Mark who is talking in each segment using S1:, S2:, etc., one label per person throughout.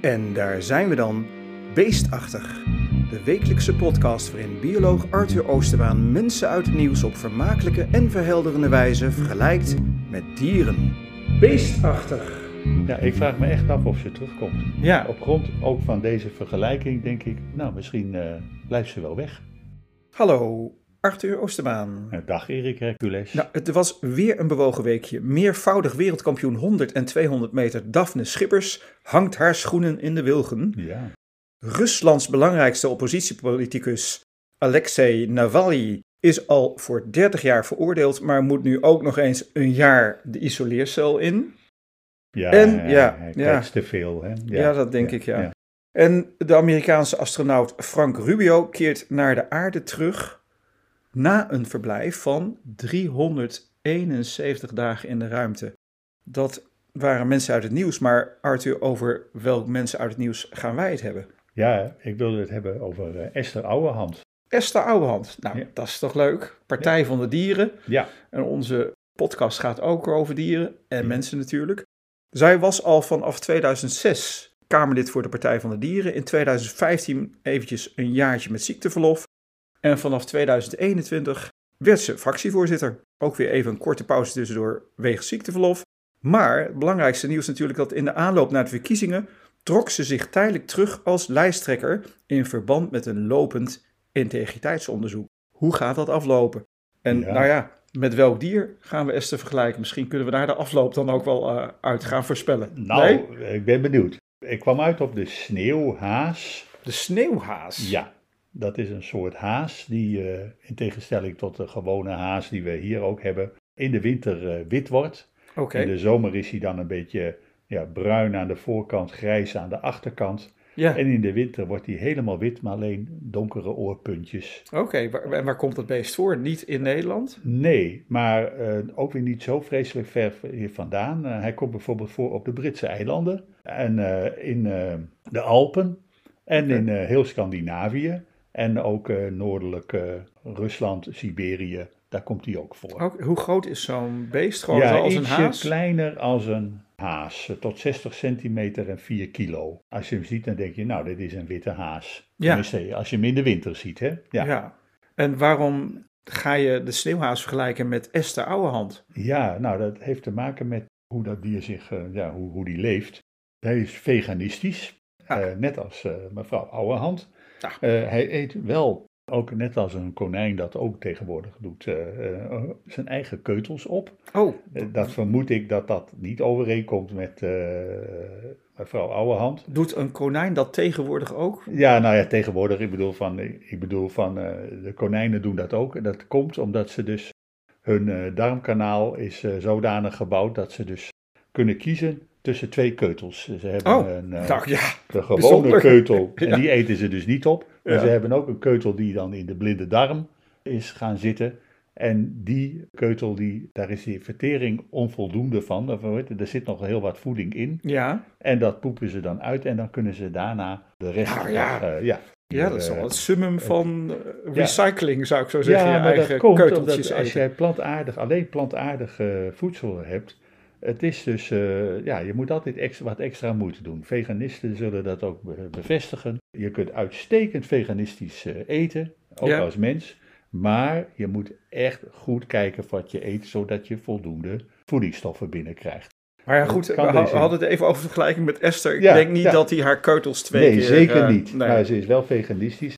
S1: En daar zijn we dan, Beestachtig. De wekelijkse podcast waarin bioloog Arthur Oosterbaan mensen uit het nieuws op vermakelijke en verhelderende wijze vergelijkt met dieren. Beestachtig.
S2: Ja, ik vraag me echt af of ze terugkomt.
S1: Ja,
S2: Op grond ook van deze vergelijking denk ik, nou misschien eh, blijft ze wel weg.
S1: hallo Arthur Oosterbaan.
S2: Eh, Dag Erik Hercules.
S1: Nou, het was weer een bewogen weekje. Meervoudig wereldkampioen 100 en 200 meter Daphne Schippers hangt haar schoenen in de wilgen.
S2: Ja,
S1: Ruslands belangrijkste oppositiepoliticus Alexei Navalny is al voor 30 jaar veroordeeld, maar moet nu ook nog eens een jaar de isoleercel in.
S2: ja,
S1: En-
S2: hij-
S1: ja,
S2: hij
S1: ja.
S2: kijkt te veel. Hè? Ja,
S1: Ja, dat denk ik, ja. En de Amerikaanse astronaut Frank Rubio keert naar de aarde terug na een verblijf van 371 dagen in de ruimte. Dat waren mensen uit het nieuws, maar Arthur, over welk mensen uit het nieuws gaan wij het hebben?
S2: Ja, ik wilde het hebben over eh, Esther Ouwehand.
S1: Esther Ouwehand. Nou,
S2: Ja.
S1: dat is toch leuk? Partij van de Dieren.
S2: Ja,
S1: En onze podcast gaat ook over dieren en mensen natuurlijk. Zij was al vanaf 2006 Kamerlid voor de Partij van de Dieren. In 2015 eventjes een jaartje met ziekteverlof. En vanaf 2021 werd ze fractievoorzitter. Ook weer even een korte pauze tussendoor wegens ziekteverlof. Maar het belangrijkste nieuws natuurlijk dat in de aanloop naar de verkiezingen trok ze zich tijdelijk terug als lijsttrekker in verband met een lopend integriteitsonderzoek. Hoe gaat dat aflopen? En
S2: Ja.
S1: nou ja, met welk dier gaan we Esther vergelijken? Misschien kunnen we daar de afloop dan ook wel eh, uit gaan voorspellen. Nee?
S2: nou, ik ben benieuwd. Ik kwam uit op de sneeuwhaas.
S1: de sneeuwhaas.
S2: Ja, dat is een soort haas die eh, in tegenstelling tot de gewone haas die we hier ook hebben, in de winter eh, wit wordt.
S1: Oké.
S2: In de zomer is hij dan een beetje ja, bruin aan de voorkant, grijs aan de achterkant.
S1: Ja.
S2: En in de winter wordt hij helemaal wit, maar alleen donkere oorpuntjes.
S1: Oké, waar- en waar komt dat beest voor? Niet in Nederland?
S2: Nee, maar eh, ook weer niet zo vreselijk ver hier vandaan. Eh, hij komt bijvoorbeeld voor op de Britse eilanden en eh, in eh, de Alpen en in eh, heel Scandinavië. En ook eh, noordelijk eh, Rusland, Siberië, daar komt hij ook voor.
S1: Ook, hoe groot is zo'n beest? Gewoon zo als een
S2: ietsje
S1: haas?
S2: kleiner als een haas. Tot 60 centimeter en 4 kilo. Als je hem ziet, dan denk je, nou, dit is een witte haas.
S1: Ja.
S2: Tenminste, als je hem in de winter ziet, hè? Ja.
S1: Ja.
S2: Ja.
S1: En waarom ga je de sneeuwhaas vergelijken met Esther Ouwehand?
S2: nou, dat heeft te maken met hoe dat dier zich, eh, ja, hoe, hoe die leeft. Hij is veganistisch,
S1: Ah.
S2: eh, net als eh, mevrouw Ouwehand.
S1: Ah.
S2: Eh, hij eet wel, ook net als een konijn dat ook tegenwoordig doet, eh, eh, zijn eigen keutels op.
S1: Oh,
S2: Eh, Dat vermoed ik dat dat niet overeenkomt met eh, mevrouw Ouwehand.
S1: doet een konijn dat tegenwoordig ook?
S2: Ja, nou ja, tegenwoordig, ik bedoel van, ik bedoel van eh, de konijnen doen dat ook. En dat komt omdat ze dus, hun eh, darmkanaal is eh, zodanig gebouwd dat ze dus kunnen kiezen tussen twee keutels. Ze hebben
S1: Oh,
S2: een, eh,
S1: nou ja,
S2: de gewone
S1: bijzonder.
S2: keutel, en
S1: Ja.
S2: die eten ze dus niet op. Maar
S1: Ja.
S2: ze hebben ook een keutel die dan in de blinde darm is gaan zitten. En die keutel, die, daar is die vertering onvoldoende van. Of, weet je, Er zit nog heel wat voeding in.
S1: ja.
S2: En dat poepen ze dan uit en dan kunnen ze daarna de rest...
S1: Nou ja.
S2: eh, ja.
S1: Ja, dat is
S2: Eh,
S1: wel het summum van eh, recycling, zou ik zo zeggen.
S2: Ja,
S1: je
S2: maar
S1: eigen
S2: dat komt
S1: keuteltjes
S2: omdat als
S1: eten.
S2: jij plantaardig, alleen plantaardig eh, voedsel hebt... Het is dus, eh, ja, je moet altijd extra, wat extra moeite doen. Veganisten zullen dat ook be- bevestigen. Je kunt uitstekend veganistisch eh, eten, ook
S1: Ja.
S2: als mens. Maar je moet echt goed kijken wat je eet, zodat je voldoende voedingsstoffen binnenkrijgt.
S1: Maar ja, goed, we
S2: kan
S1: ha-
S2: deze-
S1: hadden het even over vergelijking met Esther. Ik
S2: Ja,
S1: denk niet
S2: ja.
S1: dat hij haar keutels twee
S2: nee,
S1: keer...
S2: zeker
S1: eh,
S2: niet.
S1: nee.
S2: Maar ze is wel veganistisch.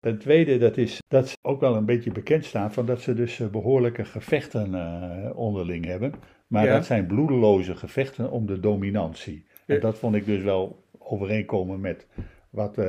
S2: Ten tweede, dat is dat ze ook wel een beetje bekend staan van dat ze dus eh, behoorlijke gevechten eh, onderling hebben. Maar
S1: Ja.
S2: dat zijn bloedeloze gevechten om de dominantie.
S1: Ja.
S2: En dat vond ik dus wel overeenkomen met wat eh,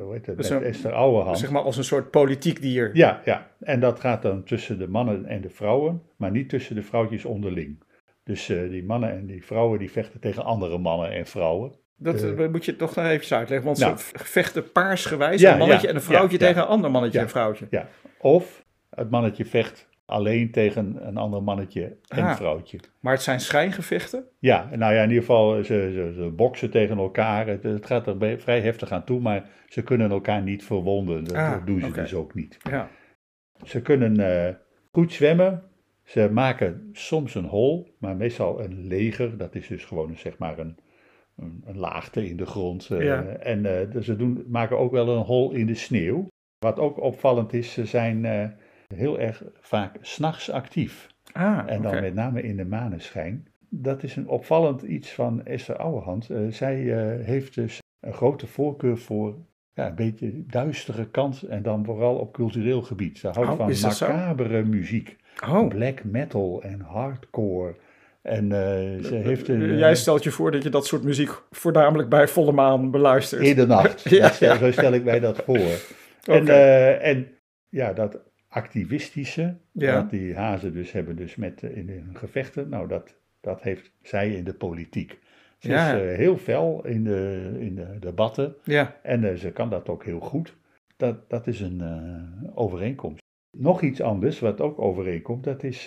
S2: hoe heet het,
S1: Dus
S2: met
S1: een-
S2: Esther Ouwehand.
S1: Zeg maar als een soort politiek dier.
S2: Ja, ja, en dat gaat dan tussen de mannen en de vrouwen, maar niet tussen de vrouwtjes onderling. Dus eh, die mannen en die vrouwen die vechten tegen andere mannen en vrouwen.
S1: Dat
S2: Eh.
S1: eh, moet je toch nog even uitleggen. Want
S2: Nou.
S1: ze vechten paarsgewijs
S2: Ja,
S1: een mannetje
S2: ja,
S1: en een vrouwtje
S2: ja, ja.
S1: tegen een ander mannetje
S2: Ja.
S1: en vrouwtje.
S2: Ja, of het mannetje vecht alleen tegen een ander mannetje en
S1: Ah.
S2: vrouwtje.
S1: Maar het zijn schijngevechten.
S2: Ja, nou ja, in ieder geval, ze, ze, ze boksen tegen elkaar. Het, het gaat er bij- vrij heftig aan toe, maar ze kunnen elkaar niet verwonden. Dat
S1: Ah,
S2: doen ze
S1: oké.
S2: dus ook niet.
S1: Ja.
S2: Ze kunnen eh, goed zwemmen. Ze maken soms een hol, maar meestal een leger. Dat is dus gewoon een, zeg maar een, een, een laagte in de grond. eh,
S1: Ja.
S2: En eh, dus ze doen, maken ook wel een hol in de sneeuw. Wat ook opvallend is, ze zijn eh, heel erg vaak s'nachts actief.
S1: Ah,
S2: En dan
S1: oké.
S2: met name in de maneschijn. Dat is een opvallend iets van Esther Ouwehand. Eh, zij eh, heeft dus een grote voorkeur voor ja, een beetje duistere kant. En dan vooral op cultureel gebied. Ze houdt
S1: Oh,
S2: van
S1: is dat zo?
S2: macabere muziek.
S1: Oh,
S2: Black metal en hardcore. En eh, ze heeft een... eh,
S1: jij stelt je voor dat je dat soort muziek voornamelijk bij volle maan beluistert.
S2: In de nacht.
S1: Ja,
S2: Dat stel-
S1: ja.
S2: Zo stel ik mij dat voor. En,
S1: Oké.
S2: eh, en ja, dat activistische,
S1: Ja.
S2: dat die hazen dus hebben dus met, eh, in hun gevechten, nou dat, dat heeft zij in de politiek. Ze
S1: Ja.
S2: is eh, heel fel in de, in de debatten
S1: Ja,
S2: en eh, ze kan dat ook heel goed. Dat, dat is een eh, overeenkomst. Nog iets anders wat ook overeenkomt, dat is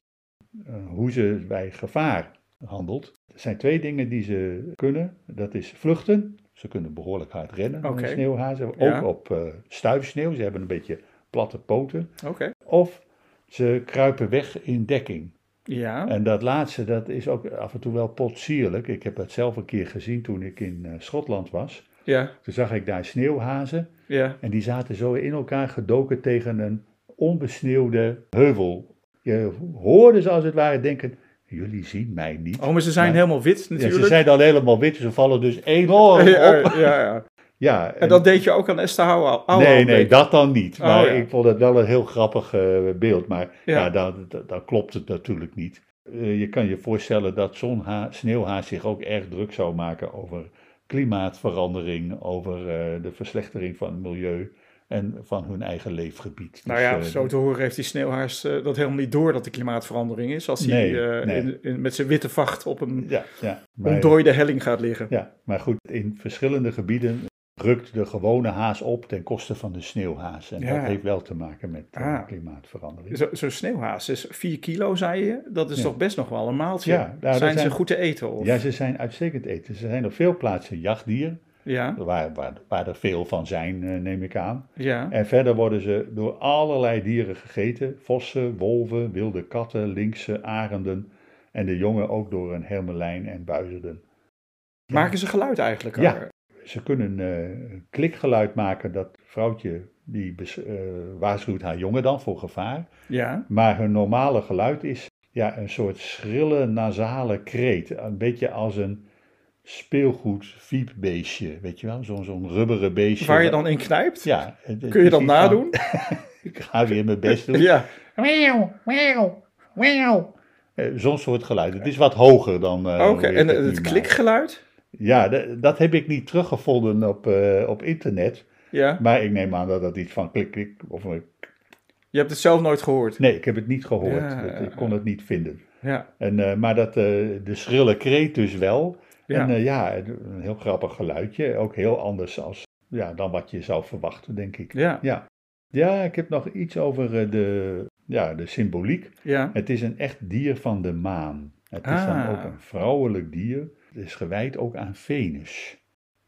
S2: eh, hoe ze bij gevaar handelt. Er zijn twee dingen die ze kunnen. Dat is vluchten. Ze kunnen behoorlijk hard rennen, eh,
S1: Oké.
S2: sneeuwhazen. Ook
S1: Ja.
S2: op eh stuifsneeuw. Ze hebben een beetje platte poten.
S1: oké.
S2: Of ze kruipen weg in dekking.
S1: Ja,
S2: En dat laatste, dat is ook af en toe wel potsierlijk. Ik heb dat zelf een keer gezien toen ik in eh, Schotland was.
S1: ja,
S2: Toen zag ik daar sneeuwhazen.
S1: ja.
S2: En die zaten zo in elkaar gedoken tegen een onbesneeuwde heuvel. Je hoorde ze als het ware denken, jullie zien mij niet.
S1: Oh, maar ze zijn
S2: Ja.
S1: helemaal wit
S2: Ja,
S1: natuurlijk.
S2: ze zijn dan helemaal wit, ze vallen dus enorm
S1: ja,
S2: op.
S1: ja, ja.
S2: Ja,
S1: En dat deed je ook aan Esther Houwal. Houwal,
S2: nee,
S1: denk
S2: nee,
S1: ik.
S2: dat dan niet. Maar
S1: Oh, ja.
S2: ik vond het wel een heel grappig eh, beeld. Maar
S1: Ja.
S2: ja, dan, dan, dan klopt het natuurlijk niet. Eh, je kan je voorstellen dat zo'n ha- sneeuwhaas zich ook erg druk zou maken over klimaatverandering, over eh, de verslechtering van het milieu en van hun eigen leefgebied. Dus,
S1: Nou ja,
S2: eh,
S1: zo te horen heeft die sneeuwhaas eh, dat helemaal niet door dat de klimaatverandering is. Als hij
S2: Nee,
S1: eh,
S2: nee.
S1: in- in- met zijn witte vacht op een
S2: ja, ja, maar,
S1: ontdooide helling gaat liggen.
S2: ja, maar goed, in verschillende gebieden rukt de gewone haas op ten koste van de sneeuwhaas. En
S1: Ja.
S2: dat heeft wel te maken met eh,
S1: Ah.
S2: klimaatverandering.
S1: Zo- Zo'n sneeuwhaas is 4 kilo, zei je. Dat is
S2: Ja.
S1: toch best nog wel een maaltje.
S2: Ja, nou, dat
S1: zijn ze
S2: zijn-
S1: goed te eten? Of?
S2: Ja, ze zijn uitstekend eten. Ze zijn op veel plaatsen jachtdier,
S1: ja,
S2: waar, waar, waar er veel van zijn, eh, neem ik aan.
S1: ja.
S2: En verder worden ze door allerlei dieren gegeten. Vossen, wolven, wilde katten, linksen, arenden. En de jongen ook door een hermelijn en buizerden.
S1: Maken ze geluid eigenlijk?
S2: Ja.
S1: al?
S2: Ze kunnen eh, een klikgeluid maken. Dat vrouwtje die bes- eh, waarschuwt haar jongen dan voor gevaar.
S1: ja.
S2: Maar hun normale geluid is ja, een soort schrille, nasale kreet. Een beetje als een speelgoed viepbeestje, weet je wel? Zo'n zo'n rubberen beestje.
S1: Waar je dan in knijpt?
S2: Ja. het- het
S1: Kun je
S2: is
S1: dat
S2: iets van,
S1: nadoen?
S2: ik ga weer mijn best doen.
S1: Ja.
S2: Wauw, wauw, wauw. Eh, Zo'n soort geluid. Het is wat hoger dan... eh,
S1: Oké,
S2: hoe ik
S1: en
S2: het
S1: eh,
S2: nu
S1: het
S2: maak.
S1: klikgeluid?
S2: Ja, d- dat heb ik niet teruggevonden op, eh, op internet.
S1: Ja.
S2: Maar ik neem aan dat dat iets van klik, klik... Of, een-
S1: Je hebt het zelf nooit gehoord.
S2: nee, ik heb het niet gehoord.
S1: Ja, eh,
S2: Het- ik kon het niet vinden.
S1: Ja.
S2: En, eh, maar dat, eh, de schrille kreet dus wel.
S1: Ja.
S2: En eh, ja, een heel grappig geluidje. Ook heel anders als, ja, dan wat je zou verwachten, denk ik.
S1: Ja.
S2: Ja, ja ik heb nog iets over eh, de, ja, de symboliek.
S1: Ja.
S2: Het is een echt dier van de maan. Het is
S1: Ah.
S2: dan ook een vrouwelijk dier. Het is gewijd ook aan Venus.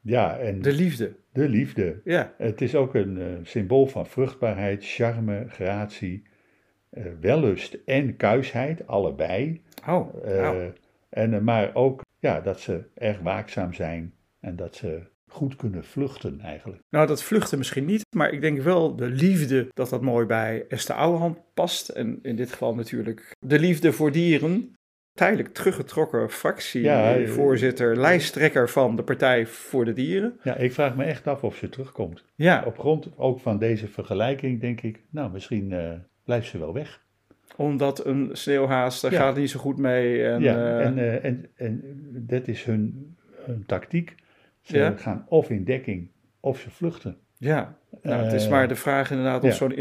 S2: Ja, en
S1: De
S2: de,
S1: liefde.
S2: liefde.
S1: Ja.
S2: Het is ook een eh, symbool van vruchtbaarheid, charme, gratie, eh, wellust en kuisheid, allebei.
S1: Oh.
S2: Eh,
S1: nou.
S2: en, eh, maar ook ja, dat ze erg waakzaam zijn en dat ze goed kunnen vluchten eigenlijk.
S1: Nou, dat vluchten misschien niet, maar ik denk wel de liefde dat dat mooi bij Esther Ouwehand past. En in dit geval natuurlijk de liefde voor dieren. Tijdelijk teruggetrokken
S2: Ja,
S1: fractievoorzitter,
S2: eh,
S1: voorzitter, lijsttrekker van de Partij voor de Dieren.
S2: Ja, ik vraag me echt af of ze terugkomt.
S1: Ja,
S2: Op grond ook van deze vergelijking denk ik, nou misschien eh, blijft ze wel weg.
S1: omdat een sneeuwhaas, daar
S2: Ja.
S1: gaat het niet zo goed mee. En,
S2: ja,
S1: eh,
S2: en, eh, en, en dat is hun, hun tactiek. Ze
S1: Ja.
S2: gaan of in dekking of ze vluchten.
S1: ja. Nou, het is
S2: eh,
S1: maar de vraag inderdaad of
S2: ja.
S1: zo'n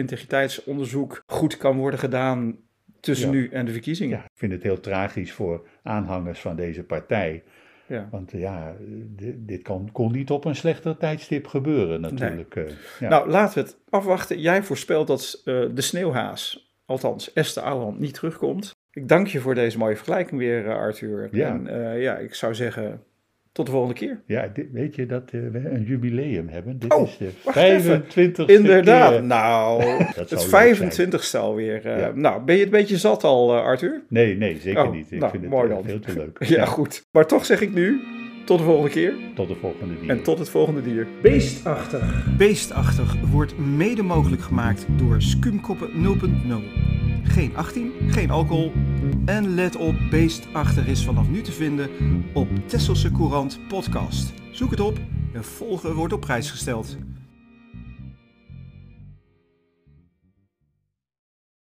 S1: integriteitsonderzoek goed kan worden gedaan tussen
S2: Ja.
S1: nu en de verkiezingen.
S2: Ja, ik vind het heel tragisch voor aanhangers van deze partij.
S1: Ja.
S2: Want eh, ja, eh, dit, dit kon, kon niet op een slechter tijdstip gebeuren natuurlijk. eh, ja.
S1: Nou, laten we het afwachten. Jij voorspelt dat eh, de sneeuwhaas, althans Esther Ouwehand, niet terugkomt. Ik dank je voor deze mooie vergelijking weer, eh, Arthur.
S2: Ja.
S1: En eh, ja, ik zou zeggen, tot de volgende keer.
S2: Ja, dit- weet je dat eh, we een jubileum hebben? Dit
S1: Oh,
S2: is de
S1: wacht even.
S2: 25
S1: Inderdaad. Nou,
S2: Dat
S1: het
S2: zou leuk zijn.
S1: 25ste alweer. eh,
S2: Ja.
S1: Nou, ben je het een beetje zat al, eh, Arthur?
S2: Nee, nee, zeker
S1: Oh,
S2: niet. Ik
S1: nou,
S2: vind het
S1: mooi
S2: eh,
S1: dan.
S2: veel te leuk.
S1: Ja, goed. Maar toch zeg ik nu,
S3: Tot de volgende keer
S2: Tot de volgende keer.
S3: en tot het volgende dier.
S1: Beestachtig. Beestachtig wordt mede mogelijk gemaakt door Skumkoppen 0.0. Geen 18, geen alcohol. En let op, Beestachtig is vanaf nu te vinden op Tesselse Courant Podcast. Zoek het op en volgen wordt op prijs gesteld.